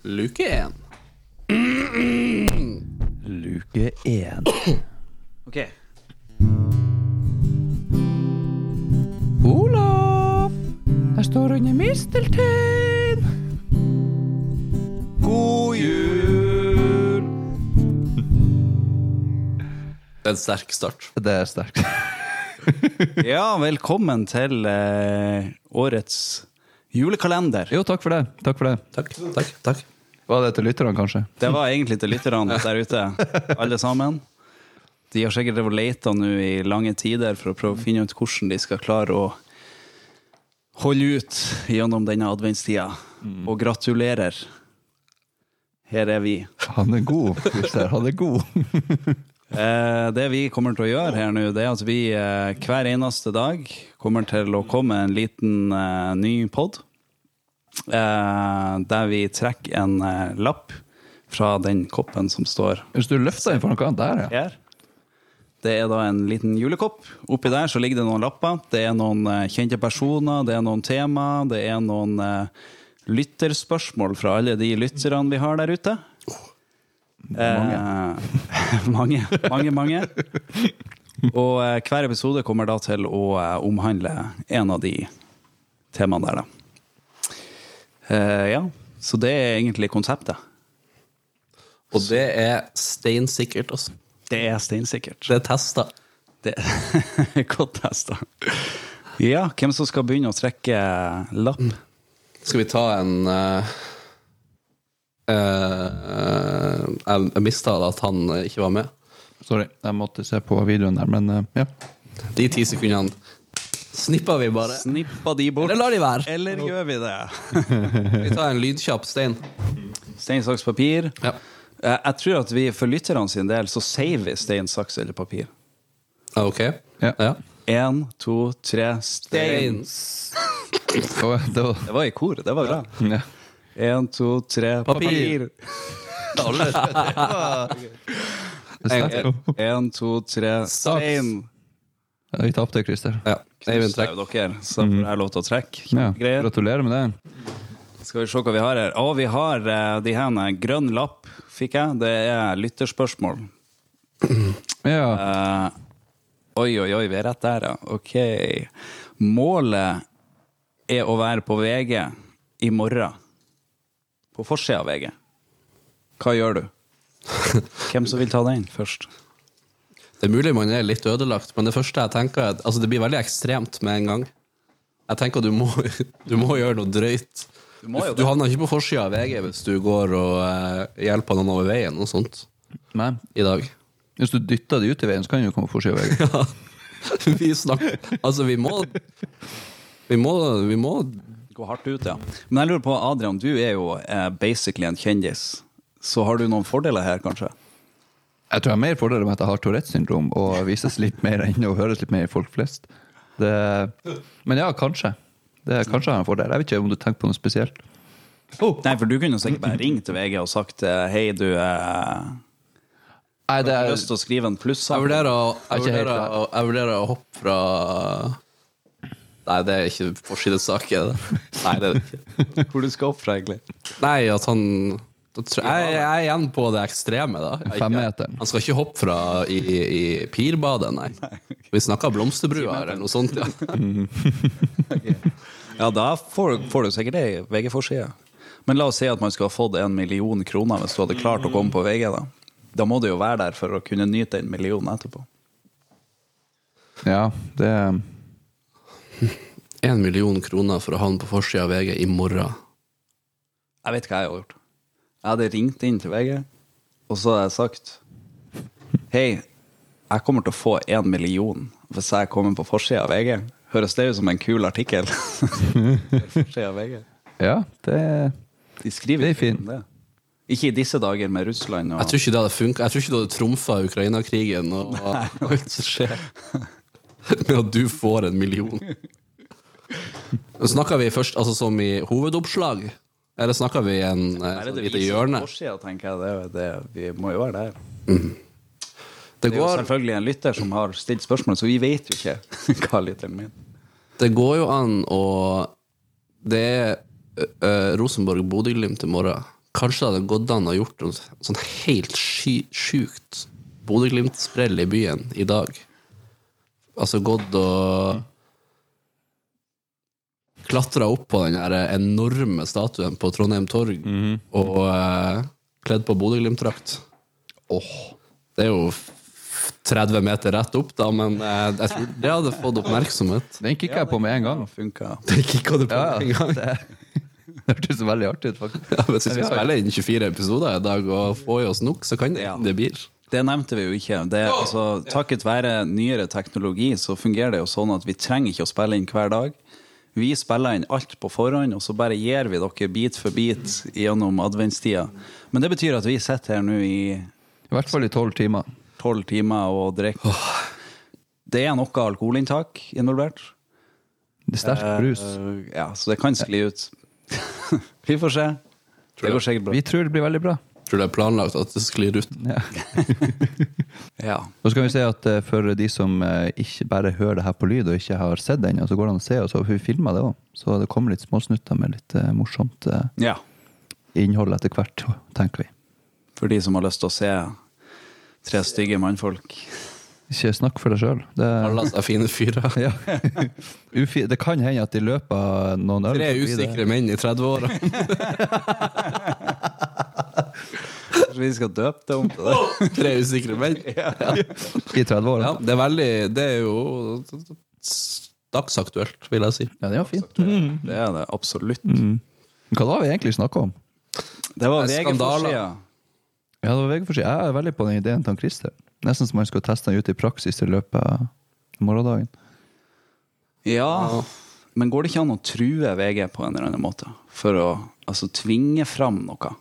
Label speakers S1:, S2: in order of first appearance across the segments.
S1: Luke 1.
S2: Luke 1.
S3: Ok.
S2: Olaf, jeg står under misteltein.
S3: God jul!
S1: Det er en sterk start.
S2: Det er sterkt.
S3: Ja, velkommen til eh, årets julekalender.
S2: Jo, takk for det. Takk for det.
S1: Takk. takk, takk
S2: Var det til lytterne, kanskje?
S3: Det var egentlig til lytterne der ute, alle sammen. De har sikkert leita nå i lange tider for å prøve å finne ut hvordan de skal klare å holde ut gjennom denne adventstida. Og gratulerer. Her er vi.
S2: Han er god. Christer. Han er god.
S3: Eh, det vi kommer til å gjøre her nå, det er at vi eh, hver eneste dag kommer til å komme en liten eh, ny pod. Eh, der vi trekker en eh, lapp fra den koppen som står
S2: Hvis du løfter inn for noe annet der, ja.
S3: her. Det er da en liten julekopp. Oppi der så ligger det noen lapper. Det er noen eh, kjente personer, det er noen tema, det er noen eh, lytterspørsmål fra alle de lytterne vi har der ute. Eh, mange, mange, mange. Og eh, hver episode kommer da til å eh, omhandle en av de temaene der, da. Eh, ja, så det er egentlig konseptet.
S1: Og det er steinsikkert, altså.
S3: Det er steinsikkert.
S1: Det er testa.
S3: Det Godt testa. Ja, hvem som skal begynne å trekke lapp?
S1: Skal vi ta en eh, eh, Jeg, jeg mista det at han eh, ikke var med.
S2: Sorry, jeg måtte se på videoen der, men eh, ja.
S1: De ti sekundene snippa vi bare.
S3: Snippa de bort?
S1: Eller lar de være.
S3: Eller gjør vi det?
S1: Vi tar en lydkjapp stein.
S3: Stein, saks, papir.
S1: Ja.
S3: Eh, Jeg tror at vi for lytterne sin del så sier vi stein, saks eller papir.
S1: Ah, Ok?
S2: Ja.
S3: Én, to, tre, stein.
S2: Og det var
S3: Det var i kor, det var bra.
S2: ja.
S3: Én, to, tre, papir.
S1: Papir.
S2: Det er sterkt.
S3: Én, to, tre, stein.
S2: Ja, Vi tapte, Christer.
S1: Ja. Eivind,
S3: Så er
S1: trekk.
S3: jo dere, så får jeg lov til å trekke.
S2: Ja.
S3: Greier.
S2: Gratulerer med det.
S3: Skal vi se hva vi har her. Å, vi har eh, de her med grønn lapp, fikk jeg. Det er lytterspørsmål.
S2: Ja.
S3: Eh, oi, oi, oi, vi er rett der, ja. Ok. Målet er å være på VG i morgen. På forsida av VG. Hva gjør du? Hvem som vil ta den først?
S1: Det er mulig man er litt ødelagt, men det første jeg tenker er at altså, det blir veldig ekstremt med en gang. Jeg tenker du må, du må gjøre noe drøyt.
S3: Du må jo
S1: du havner ikke på forsida av VG hvis du går og eh, hjelper noen over veien og sånt
S2: Men
S1: i dag.
S2: hvis du dytter de ut i veien, så kan du jo komme på forsida av veien.
S1: Vi snakker Altså, vi må Vi må, vi må
S3: Gå hardt ut, ja. Men jeg lurer på, Adrian, du er jo eh, basically en kjendis. Så har du noen fordeler her, kanskje?
S2: Jeg tror jeg har mer fordeler med at jeg har Tourettes syndrom og vises litt mer enn og høres litt mer i folk flest. Det, men ja, kanskje. Det, kanskje jeg har en fordel. Jeg vet ikke om du tenker på noe spesielt.
S3: Nei, for du kunne jo sikkert bare ringt til VG og sagt eh, hei, du eh,
S2: Nei, det
S3: har
S2: er,
S3: lyst til å skrive en pluss
S1: Jeg vurderer å, jeg
S2: Jeg er ikke helt
S1: vurderer å, jeg vurderer å hoppe fra Nei, det er ikke forsidesak, er det? Nei, det er det ikke.
S3: hvor du skal opp fra, egentlig.
S1: Nei, at han da tror, jeg, jeg er igjen på det ekstreme, da. Jeg-
S2: Femmeteren.
S1: Han skal ikke hoppe fra i, i pirbadet, nei. Vi snakker blomsterbrua eller noe sånt. Ja.
S3: Ja, da får, får du sikkert det i VG-forsida. Men la oss si at man skulle ha fått en million kroner hvis du hadde klart å komme på VG. Da Da må du jo være der for å kunne nyte den millionen etterpå.
S2: ja, det
S1: En million kroner for å havne på forsida av VG i morgen.
S3: Jeg vet hva jeg hadde gjort. Jeg hadde ringt inn til VG, og så hadde jeg sagt Hei, jeg kommer til å få én million hvis jeg kommer på forsida av VG. Høres det ut som en kul artikkel? forsida av VG.
S2: Ja, det
S3: De skriver
S2: Det er
S3: ikke om det. Ikke i disse dager med Russland og
S1: Jeg tror ikke det hadde funka. Jeg tror ikke du hadde trumfa Ukraina-krigen og og alt som skjer. Med at du får en million. Snakker vi først altså som i hovedoppslag, eller snakker vi en eh, sånn lite hjørne?
S3: Forsida, tenker jeg. Det, er jo det, vi må jo være der.
S1: Det
S3: Det er jo
S1: går,
S3: selvfølgelig en lytter som har stilt spørsmål, så vi vet jo ikke hva lytteren mener.
S1: det går jo an å Det er ø, ø, Rosenborg-Bodø-Glimt i morgen. Kanskje det hadde gått an å gjort noe sånn helt sky, sjukt Bodø-Glimt-sprell i byen i dag. Altså gått og klatra opp på den der enorme statuen på Trondheim Torg og eh, kledd på Bodø-Glimt-drakt. Det er jo f- 30 meter rett opp, da, men eh, jeg tror det hadde fått oppmerksomhet.
S2: Den kikka jeg på med en gang.
S3: Funka.
S1: Det kikka du på
S2: Ja,
S1: med en
S2: ja.
S1: gang.
S2: Det hørtes veldig artig ut, faktisk.
S1: Ja, hvis vi skal spille inn 24 episoder i dag og få i oss nok, så kan det
S3: Ja.
S1: det blir.
S3: Det nevnte vi jo ikke. Det, er, altså, takket være nyere teknologi så fungerer det jo sånn at vi trenger ikke å spille inn hver dag. Vi spiller inn alt på forhånd, og så bare gir vi dere bit for bit gjennom adventstida. Men det betyr at vi sitter her nå i
S2: I hvert fall i tolv timer.
S3: tolv timer og drikker. Det er noe alkoholinntak involvert.
S2: Det er Sterk brus.
S3: Eh, Ja, så det kan skli ut. vi får se. Det går sikkert bra.
S2: Vi tror det blir veldig bra.
S1: Tror det er planlagt at det sklir ut.
S2: Ja.
S3: Ja.
S2: Og så kan vi si at eh, for de som eh, ikke bare hører det her på lyd og ikke har sett den, så går det an å se oss, og vi filmer det òg. Så det kommer litt småsnutter med litt eh, morsomt eh,
S3: ja.
S2: innhold etter hvert, tenker vi.
S3: For de som har lyst til å se tre stygge mannfolk.
S2: Ikke snakk for deg sjøl. Det,
S1: Alle er fine fyrer.
S2: ja. Ufi- det kan hende at de løper noen øl
S1: Tre
S2: forbi det.
S1: usikre menn i 30-åra.
S3: Kanskje vi skal døpe det om til det?
S1: Tre usikre menn.
S2: i 30-åra.
S1: Ja, det er veldig Det er jo dagsaktuelt, vil jeg si.
S2: Ja, det var fint.
S3: Det er det absolutt.
S2: Hva da har vi egentlig snakka om?
S3: Det var
S1: Det
S3: VG-forsida.
S1: er skandaler.
S2: Ja, det var vg Jeg er veldig på den ideen til han Christer. Nesten som man skulle teste den ut i praksis i løpet av morgendagen.
S3: Ja. Men går det ikke an å true VG på en eller annen måte? For å altså, tvinge fram noe?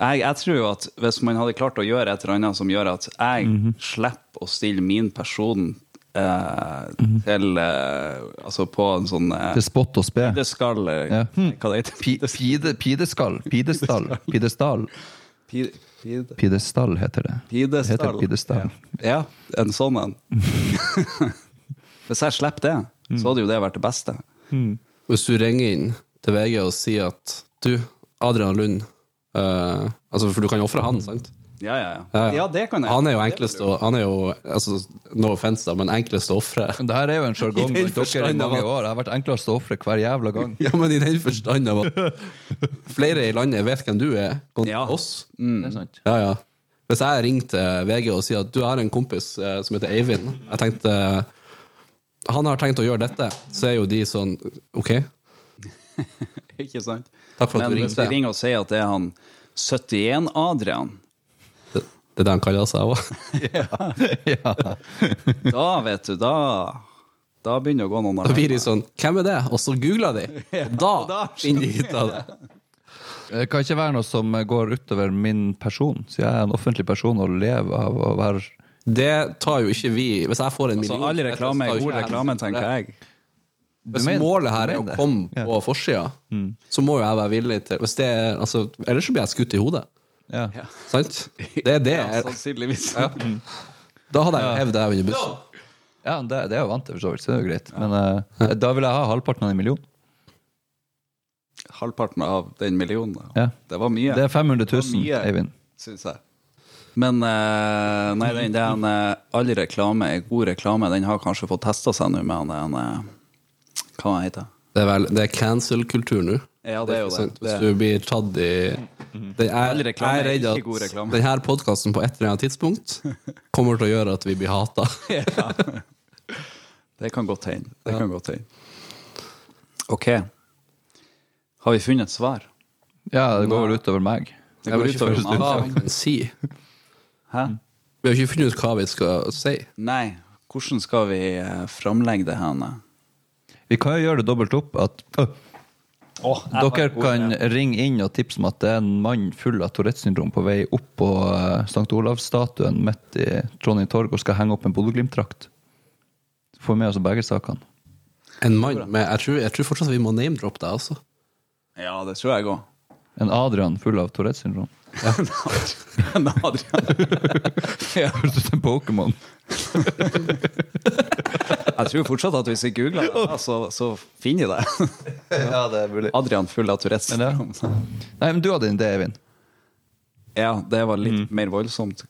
S3: Jeg, jeg tror jo at hvis man hadde klart å gjøre et eller annet som gjør at jeg
S2: Mhm.
S3: slipper å stille min person eh,
S2: Mhm.
S3: til eh, Altså på en sånn eh,
S2: Til spott og spe.
S3: Det skal eh,
S2: Ja. Hm.
S3: Hva det heter
S2: Pi- Pide, pideskall. Pidestall. Pidestal.
S3: Pi- pide-
S2: Pidestall heter det.
S3: Pidestall.
S2: Heter det pidestall.
S3: Ja, en sånn en. Hvis jeg slipper det, så hadde jo det vært det beste.
S1: Hvis du ringer inn til VG og sier at du, Adrian Lund eh, Altså, for du kan ofre han, sant?
S3: Ja, ja, ja.
S1: Ja, ja.
S3: ja det kan jeg.
S1: Han er jo enklest å Han er jo, altså, no offense, da, men enklest å ofre.
S2: Det her er jo en sjargong
S1: I den
S2: blant dere i
S1: forstand
S2: mange
S1: at-
S2: år. Det har vært enklest å ofre hver jævla gang.
S1: Ja, men i den forstand av at flere i landet vet hvem du er, kontra
S3: Ja.
S1: oss.
S2: Det er sant.
S1: Ja, ja. Hvis jeg ringer til VG og sier at du har en kompis eh, som heter Eivind, jeg tenkte eh, han har tenkt å gjøre dette, så er jo de sånn OK,
S3: Ikke sant?
S1: takk for at
S3: Men
S1: du
S3: hvis vi
S1: ringte.
S3: ringer og sier at det er han 71 Adrian,
S1: Det, det er det han kaller seg òg.
S2: Ja.
S3: da vet du, da Da begynner det å gå noen
S1: Da blir
S3: alarmer.
S1: de sånn Hvem er det? Og så googler de. Og da
S3: da
S1: finner de ut av det.
S2: Det Eh, kan ikke være noe som går utover min person, siden jeg er en offentlig person og lever av å være
S1: Det tar jo ikke vi Hvis jeg får en
S3: Så
S1: million
S3: Altså, all reklame er
S1: så tar jo
S3: god
S1: ikke jeg
S3: reklame,
S1: hensyn til
S3: tenker
S1: det.
S3: jeg.
S1: Hvis
S2: mener-
S1: målet her
S2: du
S1: er å
S2: mener det?
S1: komme
S2: Ja.
S1: på forsida,
S3: Mm.
S1: så må jo jeg være villig til hvis det er, altså, Ellers så blir jeg skutt i hodet.
S2: ja.
S1: Sant? Det er det.
S3: Ja,
S1: jeg-
S3: sannsynligvis.
S1: Da hadde jeg jo hevd deg under bussen.
S2: ja, det, det er jo vant til, for så vidt, så det er jo greit. Men eh, da vil jeg ha halvparten av en million.
S3: Halvparten av den millionen. da.
S2: Ja.
S3: Det var mye.
S2: Det er 500 000,
S3: Det var mye.
S2: Eivind.
S3: syns jeg. Men eh, nei, den, den eh, all reklame er god reklame. Den har kanskje fått testa seg nå med han den, eh, Hva han heter
S1: Det er, vel, det er cancel-kultur nå.
S3: Ja, det er jo det.
S1: sant?
S3: Det
S1: Hvis
S3: er- Mm.
S1: du blir tatt i det er,
S3: All
S1: Jeg
S3: reklame
S1: er
S3: er
S1: redd
S3: ikke
S1: at
S3: god reklame.
S1: denne podkasten på et eller annet tidspunkt kommer til å gjøre at vi blir hata.
S3: Det kan godt hende. Det kan godt hende. Ok. Har vi funnet et svar?
S2: Ja, det går vel utover meg.
S3: Det
S1: Jeg
S3: går
S1: vet ikke
S3: utover
S1: først
S3: meg.
S1: hva vi kan si.
S3: Hæ?
S1: Vi har ikke funnet ut hva vi skal si.
S3: Nei. Hvordan skal vi eh, framlegge det her? nei?
S2: Vi kan jo gjøre det dobbelt opp. At dere kan ringe inn og tipse om at det er en mann full av Tourettes syndrom på vei opp på eh, St. Olavs-statuen midt i Trondheim torg og skal henge opp en Bodø-Glimt-drakt. Får med oss begge sakene.
S1: altså. En mann med jeg tror, jeg tror fortsatt vi må name-droppe deg også.
S3: Ja, det tror jeg òg.
S2: En Adrian full av Tourettes syndrom.
S3: En Adrian. ja.
S2: Høres ut som en Pokémon.
S3: Jeg tror fortsatt at hvis vi googler det, da, så, så finner vi det.
S2: Ja, det er mulig.
S3: Adrian full av Tourettes
S2: Men
S3: syndrom.
S2: Nei, men du hadde en idé, Eivind.
S3: Ja, det var litt mer voldsomt.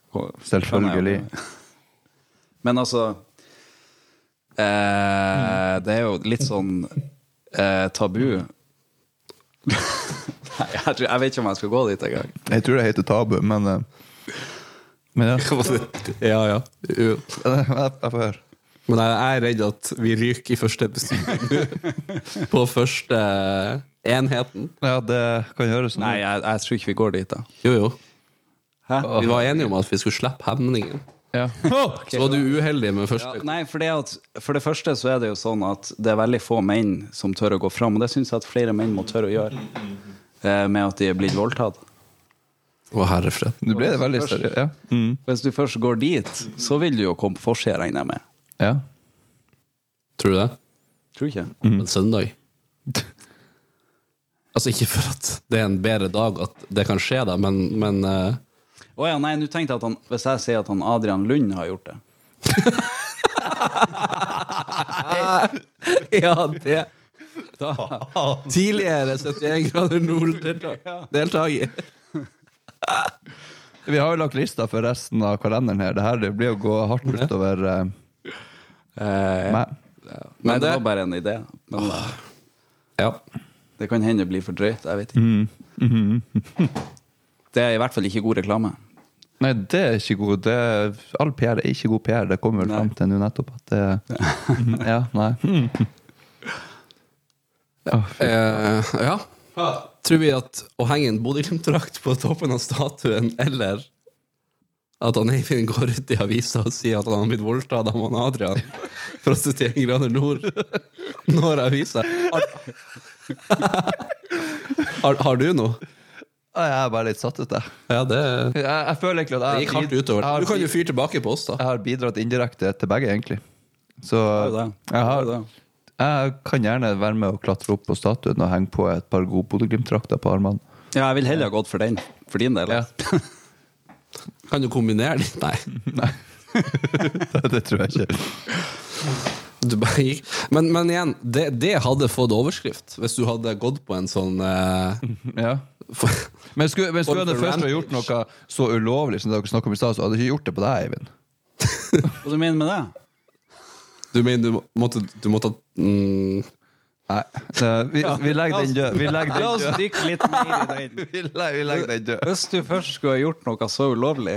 S2: Selvfølgelig.
S3: Men altså eh, Det er jo litt sånn eh, tabu. Nei, jeg, tror, jeg vet ikke om jeg skal gå dit engang.
S2: Jeg tror det heter tabu, men eh, Men ja.
S1: Ja, ja. Jo.
S2: Jeg jeg får høre.
S1: Men jeg jeg er redd at vi ryker i første episode. På første enheten.
S2: Ja, det kan høres sånn
S3: Nei, jeg, jeg tror ikke vi går dit, da.
S1: Jo, jo.
S3: Hæ?
S1: Vi var enige om at vi skulle slippe hemningen.
S2: Ja.
S1: Så var du uheldig med
S3: Ja,
S1: første.
S3: nei, for det, at, for det første så er det jo sånn at det er veldig få menn som tør å gå fram, og det syns jeg at flere menn må tørre å gjøre, eh, med at de er blitt voldtatt.
S1: Å, herrefred.
S2: Nå ble det veldig seriøst. Ja. Mm.
S3: Hvis du først går dit, så vil du jo komme på forsida, regner jeg med.
S2: ja.
S1: Tror du det?
S3: Tror ikke.
S1: En søndag? Altså, ikke for at det er en bedre dag at det kan skje, da, men, men eh,
S3: Å ja, nei, nå tenkte jeg at han, hvis jeg sier at han Adrian Lund har gjort det
S1: Ja, det Tidligere 71 grader nord-deltaker.
S2: Vi har jo lagt lista for resten av kalenderen her. Det her det blir å gå hardt utover eh, meg.
S3: Eh, Nei,
S1: Men
S3: det
S1: det
S3: var bare en idé. Men eh,
S1: Ja.
S3: det kan hende det blir for drøyt. Jeg vet ikke. det er i hvert fall ikke god reklame.
S2: Nei, det er ikke god det, All PR er ikke god PR. Det kommer vel
S3: Nei.
S2: fram til nå nettopp at det Ja, nei. Å, fy.
S1: Eh, ja. Tror vi at å henge en Bodø-Glimt-drakt på toppen av statuen, eller at han Eivind går ut i avisa og sier at han har blitt voldtatt av han Adrian fra 71 grader nord, når avisa har, har, har du noe?
S2: jeg er bare litt satt ut, jeg.
S1: Ja, det
S2: Jeg, jeg føler egentlig at
S1: det
S2: jeg,
S1: gikk
S2: har
S1: hardt
S2: bid-
S1: utover.
S2: jeg, har
S1: Du kan
S2: bid-
S1: jo fyre tilbake på oss, da.
S2: jeg har bidratt indirekte til begge, egentlig. Så
S3: du det?
S2: jeg,
S3: Har
S2: har,
S3: du det?
S2: jeg kan gjerne være med og klatre opp på statuen og henge på et par gode Bodø-Glimt-drakter på armene.
S3: Ja, jeg vil heller ha gått for den. For din del.
S2: Ja.
S1: Kan du kombinere litt? Nei.
S2: det tror jeg ikke.
S1: Du bare gikk. Men, men igjen, det, det hadde fått overskrift hvis du hadde gått på en sånn eh,
S2: Ja.
S1: for,
S2: Men skulle, men skulle
S1: Både
S2: dere
S1: for
S2: først ha
S1: Rampage.
S2: gjort noe så ulovlig som dere snakket om i stad, så hadde dere ikke gjort det på deg, Eivind.
S3: Hva du mener med det?
S1: Du mener du må- måtte, du måtte mm,
S2: Nei. Så Vi, vi legger den død. Vi legger
S3: La
S2: den
S3: oss
S2: død.
S3: dykke litt mer i den.
S2: Vi legger, vi legger den død.
S3: Hvis du først skulle ha gjort noe så ulovlig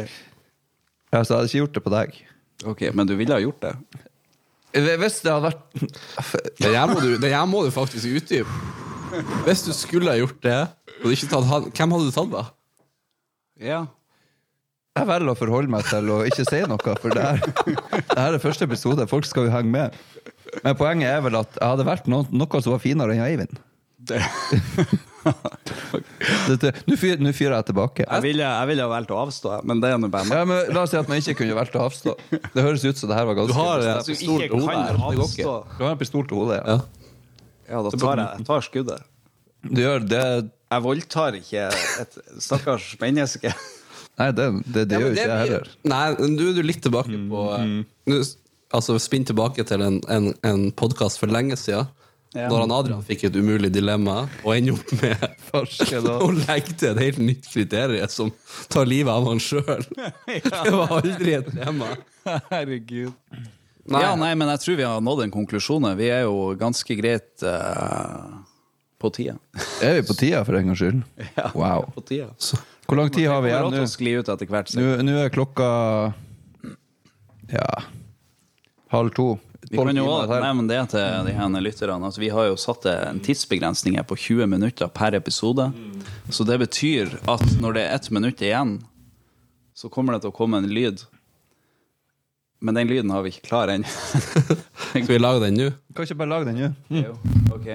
S2: Ja, så jeg hadde ikke gjort det på deg.
S3: Ok, men du ville ha gjort det.
S2: Hvis det hadde vært
S1: Det her må du, det her må du faktisk utdype. Hvis du skulle ha gjort det, og ikke tatt han, hvem hadde du tatt da?
S3: Ja.
S2: Jeg velger å forholde meg til å ikke si noe, for det her, det her er første episode. Folk skal jo henge med. Men poenget er vel at jeg hadde vært noe, noe som var finere enn Eivind. Dette- Nå fyr- nå fyrer jeg tilbake.
S3: Jeg ville, jeg ville ha valgt å avstå, men det er nå bare meg.
S2: Ja, men La oss si at man ikke kunne valgt å avstå. Det høres ut som det her var ganske
S1: Du har
S2: bestemt.
S1: en
S3: Hvis du
S1: pistol
S3: ikke
S1: til hodet.
S3: kan
S1: her. Det går ikke.
S3: avstå,
S2: Du har en pistol til hodet, ja.
S1: Ja.
S3: ja, da tar jeg, jeg tar skuddet.
S2: Du gjør det
S3: Jeg voldtar ikke et stakkars menneske.
S2: Nei, det, det, det
S1: Ja,
S2: gjør
S1: men
S2: jo ikke jeg
S1: blir-
S2: heller.
S1: Nei, men nå er du litt tilbake på eh, nå s- Altså, spinn tilbake til en, en, en podkast for lenge siden.
S3: Ja.
S1: Når han Adrian fikk et umulig dilemma og ender opp med
S2: Farsken, da.
S1: å legge til et helt nytt kriterium som tar livet av han sjøl. Det var aldri et tema.
S3: Herregud. Ja, nei, men jeg tror vi har nådd en konklusjon. her. Vi er jo ganske greit eh, på tida.
S2: Er vi på tida, for en gangs skyld? Wow.
S3: På tida.
S2: Hvor lang tid har vi
S3: Vi har
S2: igjen
S3: råd
S2: nå?
S3: til å skli ut etter hvert.
S2: nå?
S3: sikkert.
S2: Nå er klokka ja halv to.
S3: Vi
S2: Tolv
S3: kan jo
S2: timer
S3: også
S2: til.
S3: nevne det til de her lytterne. Altså, vi har jo satt en tidsbegrensning her på 20 minutter per episode. Så det betyr at når det er ett minutt igjen, så kommer det til å komme en lyd. Men den lyden har vi ikke klar ennå.
S1: Skal vi lage den nå?
S2: Kan ikke bare lage den nå?
S1: Mm.
S3: Ok.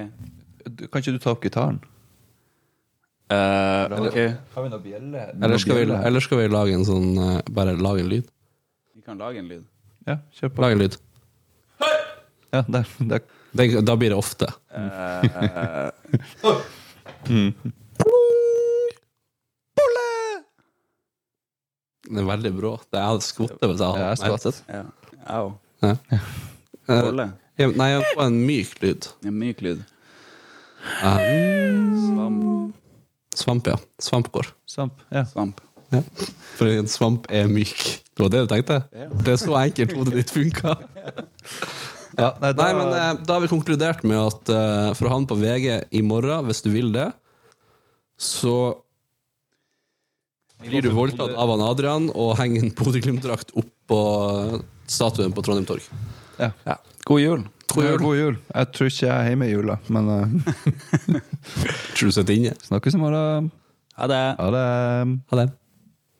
S2: Du- Kan ikke du ta opp gitaren?
S3: Eh, ok.
S2: Har vi noe bjelle?
S1: Eller skal, vi, eller skal vi lage en sånn eh, Bare lage en lyd?
S3: Vi kan lage en lyd.
S1: Mm.
S2: Ja, kjør på.
S1: Lage en lyd.
S2: Ja, der, der.
S1: Det,
S3: Eh,
S1: da blir det ofte. Den er veldig brå. Det er skvottet hvis
S2: Jeg
S1: jeg
S2: er
S1: hadde den her.
S2: skvattet.
S3: Ja. Au.
S1: Ja.
S3: Bolle.
S1: Ja, Nei, Eh, jeg får en myk lyd.
S3: En myk lyd.
S1: Ja.
S3: Svamp.
S1: Svamp, ja. Svampgård.
S2: Svamp. Ja.
S3: Svamp.
S1: Ja. For en svamp er myk. Det var det du tenkte? Det er så enkelt hodet ditt funka.
S2: Ja, nei, da,
S1: Nei, men eh, da har vi konkludert med at eh, for å ha den på VG i morgen, hvis du vil det, så blir du voldtatt av han Adrian og henger en Bodø-Glimt-drakt oppå eh, statuen på Trondheim Torg.
S2: ja.
S3: God jul.
S1: God jul.
S2: God jul. Jeg tror ikke jeg er hjemme i jula, men eh,
S1: Tror du sitter inne?
S2: snakkes i morgen.
S3: Ha det.
S2: Ha det.
S1: Ha det.